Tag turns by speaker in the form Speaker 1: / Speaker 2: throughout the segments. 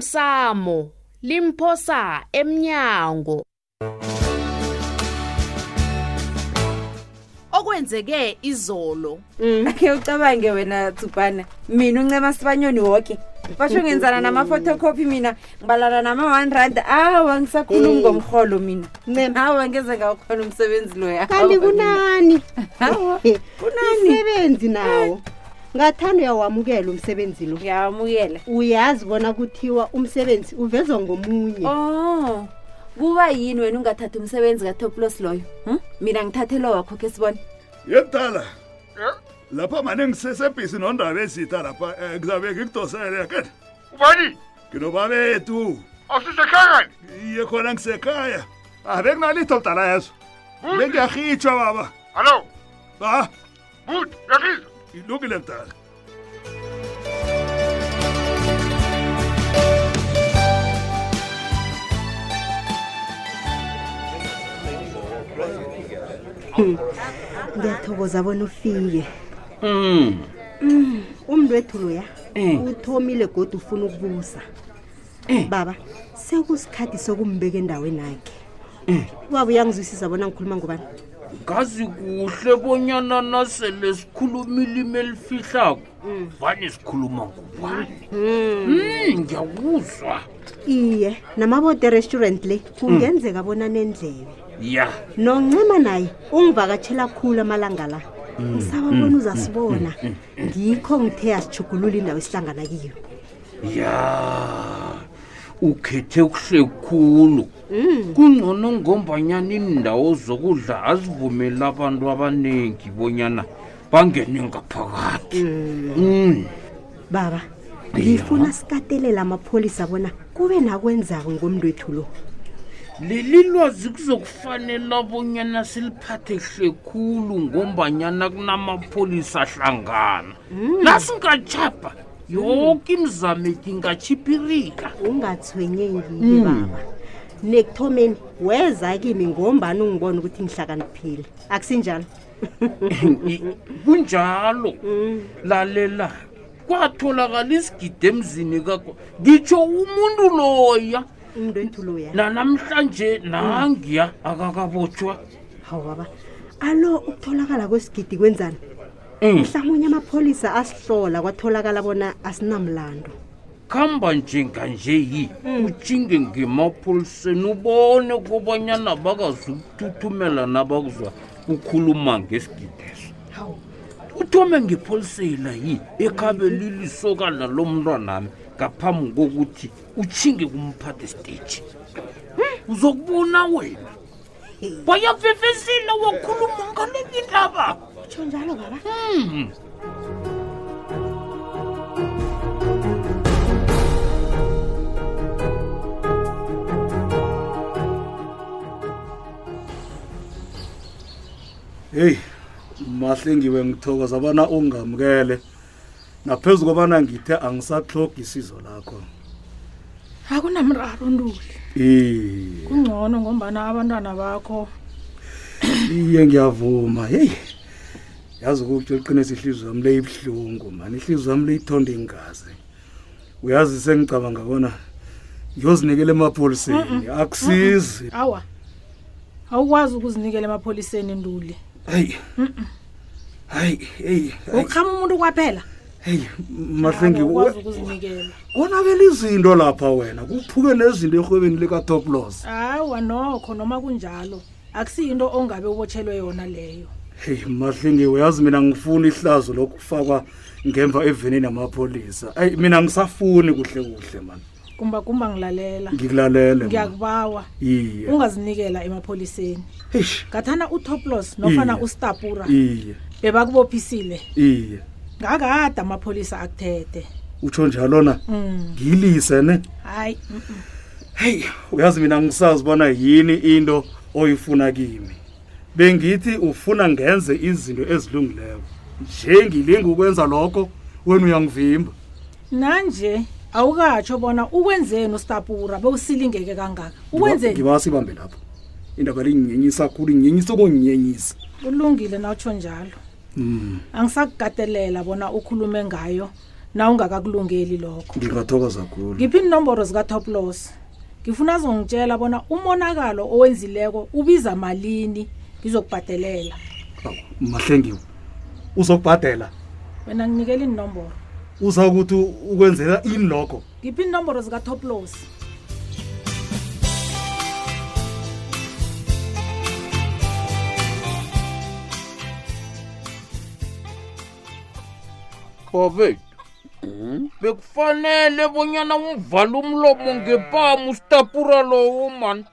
Speaker 1: osemsamo limphosa emnyango okwenzeke izolo
Speaker 2: akhe ucabange wena tsupana mina uncema sibanyoni woke basho ngenzana namafotocopy mina ngibalana nama-one rand awa
Speaker 3: Eh.
Speaker 2: ngisakhulumi ngomrholo mina
Speaker 4: ncema
Speaker 2: awa ngeze ngawukhona umsebenzi loya
Speaker 4: kanti kunani
Speaker 2: kunani
Speaker 4: isebenzi nawo ngathanda uyawamukela umsebenzi lo
Speaker 2: ngiyawamukela
Speaker 4: uyazi bona kuthiwa umsebenzi uvezwa ngomunye
Speaker 2: Oh. o kuba yini wena ungathathi umsebenzi katoplos loyo hm? mina ngithathelwa wakho khe sibone
Speaker 5: yekutala
Speaker 6: Eh?
Speaker 5: lapha mane ngisesebhisi nondaba ezitha lapha eh, ngizabe ngikudosele kena
Speaker 7: ubani
Speaker 5: nginobabethu
Speaker 7: awusisehlangani
Speaker 5: iye khona ngisekhaya Ah, abe kunalitho mdala yezo bengiyarhitshwa baba
Speaker 7: hallo
Speaker 5: a
Speaker 7: but uyakhiza
Speaker 5: ilungile mdala
Speaker 4: ngiyathokoza bona ufike
Speaker 6: Mm.
Speaker 4: umntu wethu loya
Speaker 6: Eh.
Speaker 4: uthomile godi ufuna ukubusa
Speaker 6: Eh.
Speaker 4: baba sekusikhathi sokumbeka endaweni akhe
Speaker 6: Eh.
Speaker 4: ubaba uyangizwisisa bona ngikhuluma ngobani
Speaker 6: ngazi kuhle bonyana nasele sikhulumile ime elifihlako vane sikhuluma ngubani Mm, ngiyakuzwa
Speaker 4: iye namabote restaurant le kungenzeka bona nendlebe
Speaker 6: ya
Speaker 4: noncema naye ungivakatshela khulu amalanga la ngisaba bona uzasibona ngikho ngithe yasijugulula indawo esihlangana kiyo
Speaker 6: ya ukhethe kuhle khulu Mm. kungcono ngombanyana iindawo zokudla azivumeli abantu abaningi bonyana bangene ngaphakathi Mm.
Speaker 4: baba
Speaker 6: Iya.
Speaker 4: ngifuna sikatelela amapholisa bona kube nakwenzako ngomntu wethu lo
Speaker 6: leli lwazi kuzokufanela bonyana siliphathe kuhle khulu ngombanyana kunamapholisa ahlangana nasingachapha yoke imizamo ethi ingatshipirika
Speaker 4: ungathwenyengiye baba nekuthomeni weza kimi ngombani ungibona ukuthi ngihlakaniphile akusinjalo
Speaker 6: I- kunjalo lalela kwatholakala isigidi emzini kakho ngitsho umuntu loya
Speaker 4: umntu wethu loya
Speaker 6: nanamhlanje nangiya akakabotshwa
Speaker 4: hawu baba alo ukutholakala kwesigidi kwenzani
Speaker 6: Mm.
Speaker 4: mhlawumunye amapholisa asihlola kwatholakala bona asinamlando
Speaker 6: khamba njenganje yi utshinge ngemapholiseni ubone kobanyana bakazukuthuthumela nabakuzwa ukhuluma ngesigideso
Speaker 4: hawu
Speaker 6: uthome ngepholisela yi ekhabeli lisokana lomntwanami ngaphambi kokuthi utshinge kumphathe stage Hmm, uzokubona wena bayafefesile wakhuluma ngaleki indaba
Speaker 4: tsho njalo baba
Speaker 5: heyi mahle ngiwe ngithokoza bona ungamukele naphezu kobana ngithe angisatlogi isizo lakho
Speaker 8: akunamraro ntuli
Speaker 5: iye
Speaker 8: kungcono ngombana abantwana bakho
Speaker 5: iye ngiyavuma heyi Ah, yazi ukutyo liqinisa ihliziyo yami le ibuhlungu mani ihliziyo yami le ithonde ingazi uyazi sengicabanga bona ngiyozinikela emapholiseni akusizi
Speaker 8: awa awukwazi ukuzinikela emapholiseni ntuli
Speaker 5: hayi hayi eyi
Speaker 8: ukukhama umuntu kwaphela
Speaker 5: heyi mahle
Speaker 8: awukwazi
Speaker 5: ngi
Speaker 8: ukuzinikela
Speaker 5: konakela izinto lapha wena kuphuke nezinto erhwebeni likatoplos
Speaker 8: awa nokho noma kunjalo akusiyinto ongabe ubotshelwe yona leyo
Speaker 5: heyi mahlingi uyazi mina ngifuni ihlazo lokufakwa ngemva evenini yamapholisa eyi mina ngisafuni kuhle kuhle mani
Speaker 8: kumba kumba ngilalela
Speaker 5: ngikulalele man.
Speaker 8: ngiyakubawa
Speaker 5: iye
Speaker 8: ungazinikela emapholiseni
Speaker 5: Eish,
Speaker 8: ngathana utoplos nofana
Speaker 5: Iye.
Speaker 8: ustapura
Speaker 5: iye
Speaker 8: bebakubophisile
Speaker 5: iye
Speaker 8: ngakade amapholisa akuthethe
Speaker 5: utsho njalo na
Speaker 8: um
Speaker 5: ngiyilise ne
Speaker 8: hayi mm, mm.
Speaker 5: heyi uyazi mina ngisazi ubona yini into oyifuna kimi bengithi ufuna ngenze izinto ezilungileko nje ngilinga ukwenza lokho wena uyangivimba
Speaker 8: nanje awukatsho bona ukwenzeni ustapura bewusilingeke kangaka ukwenzeni
Speaker 5: ngiba sibambe lapho indaba linginyenyisa khulu inginyenyisa okunginyenyisa
Speaker 8: kulungile nawutsho njalo
Speaker 5: Mm.
Speaker 8: angisakukatelela bona ukhulume ngayo na ungakakulungeli lokho
Speaker 5: ngingathokoza khulu
Speaker 8: ngiphi inomboro zikatoplos ngifuna azongitshela bona umonakalo owenzileko ubiza malini ngizokubhadelela
Speaker 5: Awu, mahlengiwe uzokubhadela
Speaker 8: wena nginikela inomboro
Speaker 5: uza kuthi ukwenzela ini lokho
Speaker 8: ngiphi inomboro zikatoplos
Speaker 6: babethu bekufanele bonyana uvala umlomo ngepamu stapura lowo mani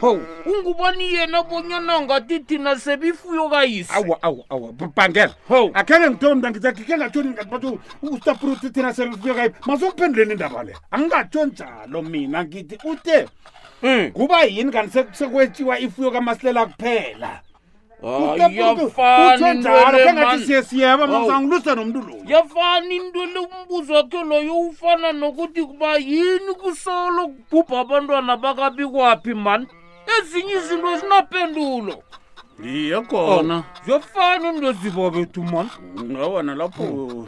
Speaker 6: hawu ungubani yena bonyana ngathi thina sebifuyo kayise
Speaker 9: awa awa awa bangela
Speaker 6: Ho.
Speaker 9: akhenge ngitoni ndangizakhe khe ngatshoni ngathi ustapruti thina serifuyekayi masokuphenduleni indaba le angingatshoni njalo mina ngithi uthe
Speaker 6: Mm.
Speaker 9: kuba yini kanti se- sekwetshiwa ifuyo kamasilela kuphela
Speaker 6: yafani
Speaker 9: njalo khe ngathi
Speaker 6: ntwele
Speaker 9: siye siyeba
Speaker 6: Hawu.
Speaker 9: mazangiluse nomntu loyo
Speaker 6: yafani into le umbuzo wakhe loyo ufana nokuthi kuba yini kusolo kubhubha abantwana bakabikwaphi mani ezinye izinto zinapendulo
Speaker 9: iye
Speaker 6: ziyafana into zibabethu mani
Speaker 9: ngawona lapho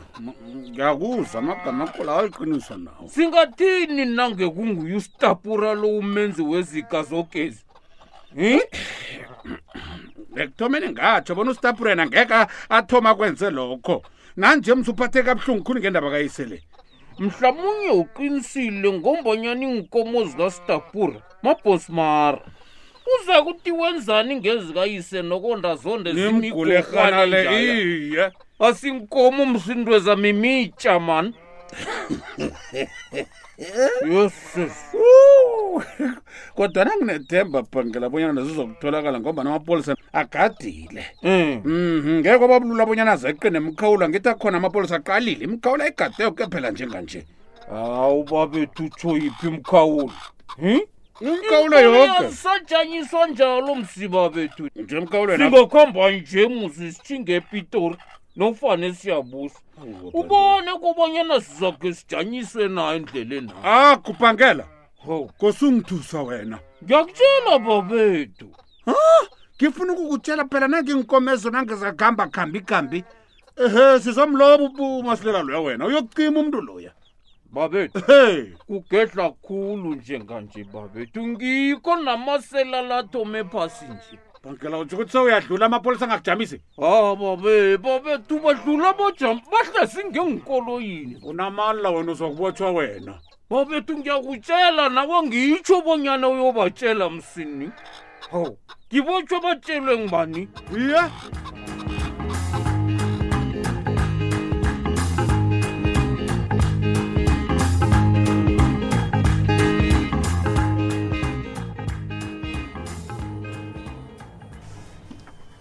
Speaker 9: ngiyakuzwa amagama akhula ayiqiniso nawo
Speaker 6: singathini nangekunguye ustapura lo umenzi wezika zogezi Hm?
Speaker 9: ekuthomeni ngatsho bona usitapurena ngeke athoma kwenze lokho nanje msuphathe kabuhlungu khulu ngendaba kayisele
Speaker 6: mhlawumunye uqinisile ngombanyana iinkomo zikastapura mabhosmara uza kuthi wenzani ngezikayise nokonda zonde
Speaker 9: nimgulerhana le iye
Speaker 6: asinkomo msindweza mimitsha mani yeses
Speaker 9: kodwana nginethemba bhangela bonyana nezizokutholakala ngoba namapolisa agadile
Speaker 6: um
Speaker 9: Mhm, ngeke kwababulula bonyana zeqe nemikhawulo ngithi akhona amapolisa aqalile imikhawulo ayigadeo ke phela njenganje
Speaker 6: hawu babethu Hm? utsho yiphi mkhawulo
Speaker 9: imikhawulo yoke
Speaker 6: yasajanyiswa njalo msiba bethu
Speaker 9: nje imikhawulo yena-
Speaker 6: singakhamba nje musi sithinge epitori nofane siyabusa ubone kobanyana sizakhe sijanyiswe nayo endleleni
Speaker 9: ah kubhangela
Speaker 6: hawu
Speaker 9: kosungithusa wena
Speaker 6: ngiyakutshela babethu
Speaker 9: ngifuna ukukutshela phela nanginkomezo nangizagamba khambi kambi ehe sizomlobo umasilela loya wena uyokucima umntu loya
Speaker 6: babethu
Speaker 9: ehe
Speaker 6: kugedla khulu njenganje babethu ngikho namasela lathome phasi nje
Speaker 9: bhankela utsho ukuthi sewuyadlula amapolisa angakujamisi
Speaker 6: ha babe babethu badlula bajam bahlasi ngenkoloyini
Speaker 9: unamala wena uzokubotshwa wena
Speaker 6: babethu ngiyakutshela nawe ngitsho bonyana uyobatshela msini hawu ngibotshwe batshelwe ngibani
Speaker 9: iye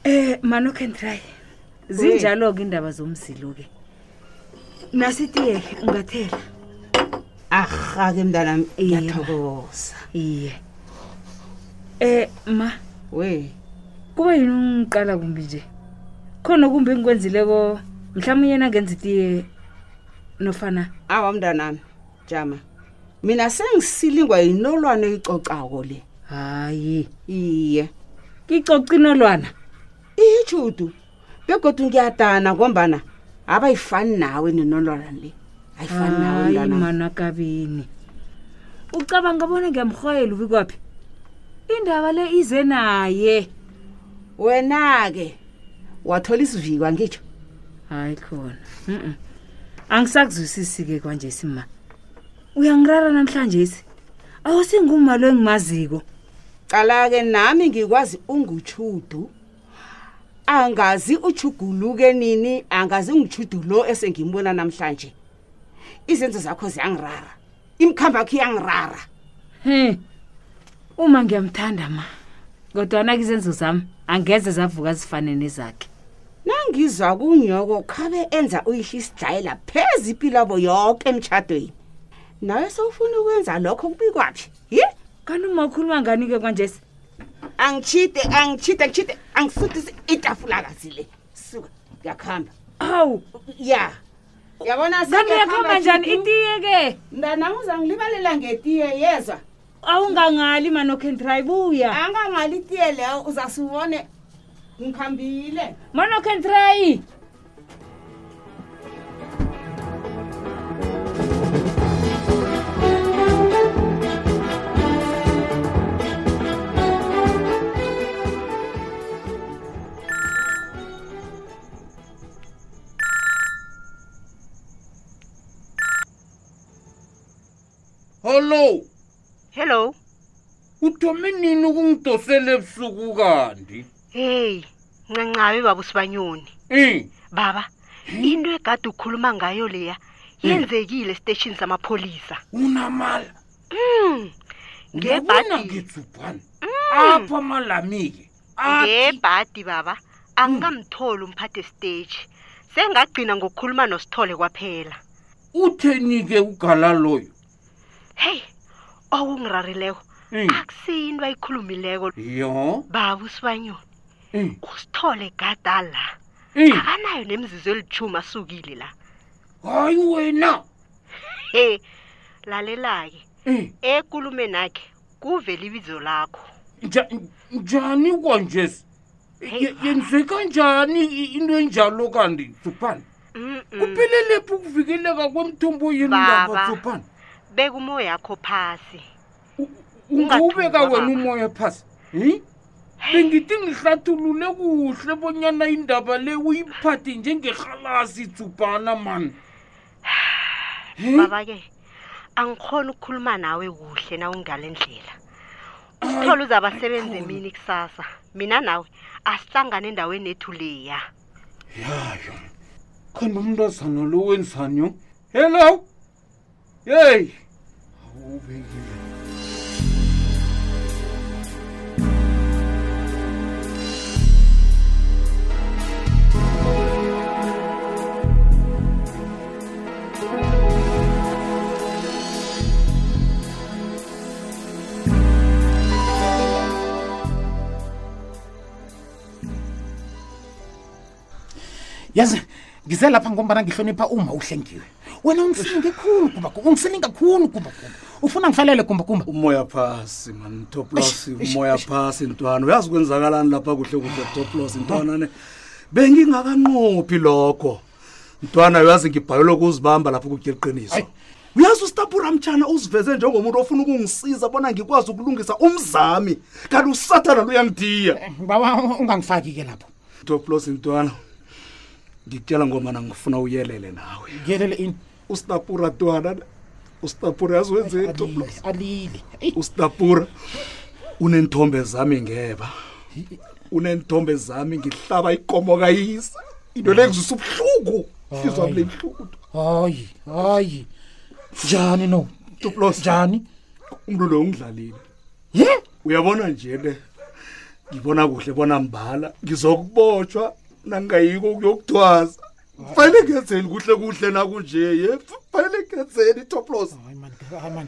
Speaker 2: Eh manoke ntry. Zinjalo ke indaba zomsilo ke.
Speaker 4: nasitiye ungathela
Speaker 3: arhake mntanam
Speaker 4: ngiyathokoza
Speaker 3: iye
Speaker 2: Eh ma,
Speaker 3: we
Speaker 2: kuba yini ungiqala kumbi nje? Khona kumbi ngikwenzileko mhlawumnye yena ngenza itiye nofana
Speaker 3: awa mntanami jama mina sengisilingwa yinolwana eyicocako le
Speaker 2: hayi
Speaker 3: iye
Speaker 2: icocinolwana
Speaker 3: iyijudu begodwa ngiyadana ngombana abayifani nawe nenolwana le ayifani nawe
Speaker 2: hayi
Speaker 3: mntanam
Speaker 2: manakabini ucabanga bona ngiyamrhoyela ubikwaphi indaba le ize naye
Speaker 3: wena-ke wathola isivikwa ngitsho
Speaker 2: hayi khona Mm-mm. angisakuzwisisi-ke kwanje sima uyangirara namhlanje si awusinguma lo engimaziko
Speaker 3: cala-ke nami ngikwazi ungutshudu angazi uchuguluke nini angazi ungichudu lo esengimbona namhlanje izenzo zakho ziyangirara imikhambo yakho iyangirara
Speaker 2: he Hmm. uma ngiyamthanda ma kodwana ke izenzo zami angeze zavuka zifane nezakhe
Speaker 3: nangizwa kunyoko khabe enza uyihle isidlayela phezu impilabo yonke emtshadweni nawe sewufuna ukwenza lokho kubikwaphi yi
Speaker 2: kanti uma ukhuluma ngani-ke kwanje si
Speaker 3: angitshide angitshide angitshide angifundisi itafulakazi le suka ngiyakuhamba
Speaker 2: awu
Speaker 3: ya yabona
Speaker 2: kanti uyakhamba njani itiye-ke
Speaker 3: mntanam uzangilibalela ngetiye yezwa
Speaker 2: awungangali manokhentrayi buya
Speaker 3: angangali itiye leyo uzasibone ngikhambile
Speaker 2: manokhentrayi
Speaker 6: holo
Speaker 4: hello
Speaker 6: uthome nini ukungidosela ebusuku kanti
Speaker 4: heyi ncancabi baba usibanyoni
Speaker 6: i
Speaker 4: baba into egade ukhuluma ngayo leya
Speaker 2: Hmm.
Speaker 4: yenzekile esiteshini samapholisa
Speaker 6: unamala
Speaker 4: Mm,
Speaker 6: ngiyabona
Speaker 4: Ngebhadi. Hmm.
Speaker 6: ngitsubhana apha malami-ke athi
Speaker 4: ngebhadi baba angamtholi umphathi esiteji sengagcina ngokukhuluma nosithole kwaphela
Speaker 6: utheni-ke ugala loyo
Speaker 4: heyi okungirarileko
Speaker 2: Hmm.
Speaker 6: Mm.
Speaker 4: akusiyinto ayikhulumileko
Speaker 6: yo
Speaker 4: baba usibanyoni
Speaker 6: Mm.
Speaker 4: usithole gada la
Speaker 6: Mm.
Speaker 4: akanayo nemzizo elithumi asukile la
Speaker 6: hayi wena
Speaker 4: he lalela-ke
Speaker 6: Mm.
Speaker 4: ekulumeni akhe kuvela ibizo lakho
Speaker 6: nja- njani kwanjesi
Speaker 4: Hey.
Speaker 6: Ye- yenzeka njani i- into enjalo kanti tsubhana
Speaker 4: Mm, mm.
Speaker 6: kuphelelaphi ukuvikeleka kwemthombo yenu ndaba
Speaker 4: Baba.
Speaker 6: tsubhana
Speaker 4: beka umoya wakho phasi
Speaker 6: ungawubeka
Speaker 4: Ungathunga,
Speaker 6: wena
Speaker 4: baba.
Speaker 6: umoya phasi hi bengithi ngihlathulule kuhle bonyana indaba le uyiphathe njengerhalasi tsubhana mani
Speaker 4: baba-ke angikhoni ukukhuluma nawe kuhle na ungale ndlela usithole uzabasebenza emini kusasa mina nawe asihlangane endaweni ethu leya
Speaker 6: yayo kanti umntazana lo wenzanyo hello yeyi awubekile
Speaker 10: yazi ngize lapha ngombana ngihlonipha uma uhlengiwe wena ungiselinge khulu gumbaguba ungiselinga khulu gumbaguba ufuna ngifelele gumbaguba
Speaker 5: umoya phasi man toplos umoya phasi ntwana uyazi kwenzakalani lapha kuhle kuhle toplos ntwana ne bengingakanqophi lokho ntwana uyazi ngibhalelwe kuzibamba lapho kutya iqiniso uyazi usitapuramtshana uziveze njengomuntu ofuna ukungisiza bona ngikwazi ukulungisa umzami kanti usathana luyangitiya
Speaker 8: Eh.
Speaker 10: baba ungangifaki-ke lapho
Speaker 5: toplos ntwana ngikutshela ngomana ngifuna uyelele nawe
Speaker 10: ngiyelele ini
Speaker 5: usitapura twana ne. usitapura yazi wenzeni toplos
Speaker 10: Alile, alile Eyi,
Speaker 5: usitapura unenthombe zami ngeba unenthombe zami ngihlaba ikomo kayise into lengizisa ubuhluku hlizwa mle buhluku
Speaker 10: hayi hayi njani no
Speaker 5: tuplos
Speaker 10: njani
Speaker 5: umuntu lo ungidlalile
Speaker 10: ye
Speaker 5: uyabona nje le ngibona kuhle bona mbala ngizokubotshwa nangingayiko kuyokuthwasa fanele ngenzeni kuhle kuhle nakunje ye fanele ngenzeni toplos
Speaker 10: hayi man hayi man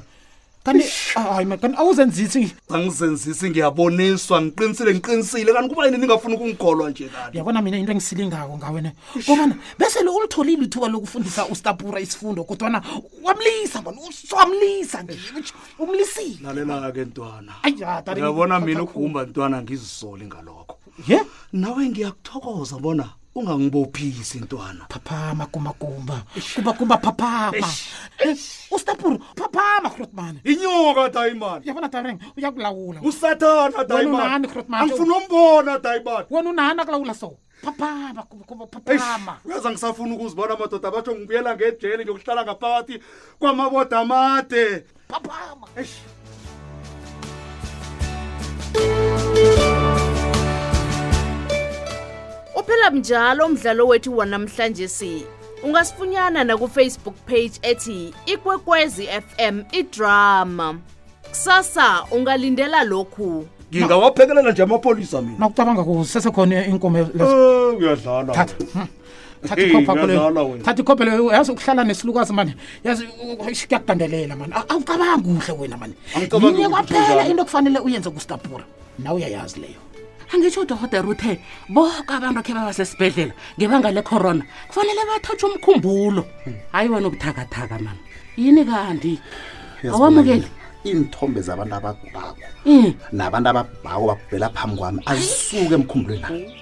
Speaker 10: kanti hayi man kanti awuzenzisi
Speaker 5: angizenzisi ngiyaboniswa ngiqinisile ngiqinisile kanti kuba yini ningafuni ukungikholwa nje kanti
Speaker 10: uyabona mina into engisilingako ngawena kobana besele ulitholile ithuba lokufundisa ustapura isifundo kodwana wamlisa bona uswamlisa nje kutjho, umlisile
Speaker 5: lalela-ke ntwana
Speaker 10: Ayi, ya, daddy,
Speaker 5: uyabona
Speaker 10: ngikuthatha
Speaker 5: mina
Speaker 10: khulu.
Speaker 5: ukugumba ntwana ngizisoli ngalokho
Speaker 10: ye
Speaker 5: nawe ngiyakuthokoza bona ungangibophisi ntwana
Speaker 10: phaphama gumagumba gumagumba phaphama ustapur phaphama hrotmane
Speaker 5: inyoka dayimani
Speaker 10: uyabona tareng uyakulawula
Speaker 5: usathana
Speaker 10: unani, Grootman?
Speaker 5: umbona dayimani
Speaker 10: wena unani akulawula so phaphama gumagumba phaphama
Speaker 5: uyaza ngisafuna ukuzibona madoda batsho ngibuyela ngejele ngiyokuhlala ngaphakathi kwamaboda amade
Speaker 10: phaphama
Speaker 1: uphela njalo umdlalo wethu wanamhlanje si ungasifunyana na ku Facebook page ethi ikwekwezi fm idrama kusasa ungalindela lokhu
Speaker 5: ngingawaphekelela nje amapholisa mina
Speaker 10: nakucabanga kusesekhona inkomo lezo
Speaker 5: uyadlala
Speaker 10: thatha thatha
Speaker 5: Hey,
Speaker 10: ikhopha kuleyo.
Speaker 5: uyadlala wena.
Speaker 10: thatha ikhopha leyo yazi ukuhlala nesilukazi mani yazi uh, eish, kuyakugandelela mani A- awucabangi kuhle wena mani
Speaker 5: Angicabangi
Speaker 10: Yinye
Speaker 5: ukuthi
Speaker 10: kwaphela
Speaker 5: kunjalo.
Speaker 10: into ekufanele uyenze kustapura nawe uyayazi leyo
Speaker 3: angitsho udokotera uthe boke abantu khe babasesibhedlela ngebanga lecorona kufanele bathatshe umkhumbulo
Speaker 10: Hmm.
Speaker 3: hayi wena ubuthakathaka mama yini kanti awamukeli
Speaker 11: iinthombe zabantu abagulako nabantu ababhako babhela phambi kwami azisuke emkhumbulweni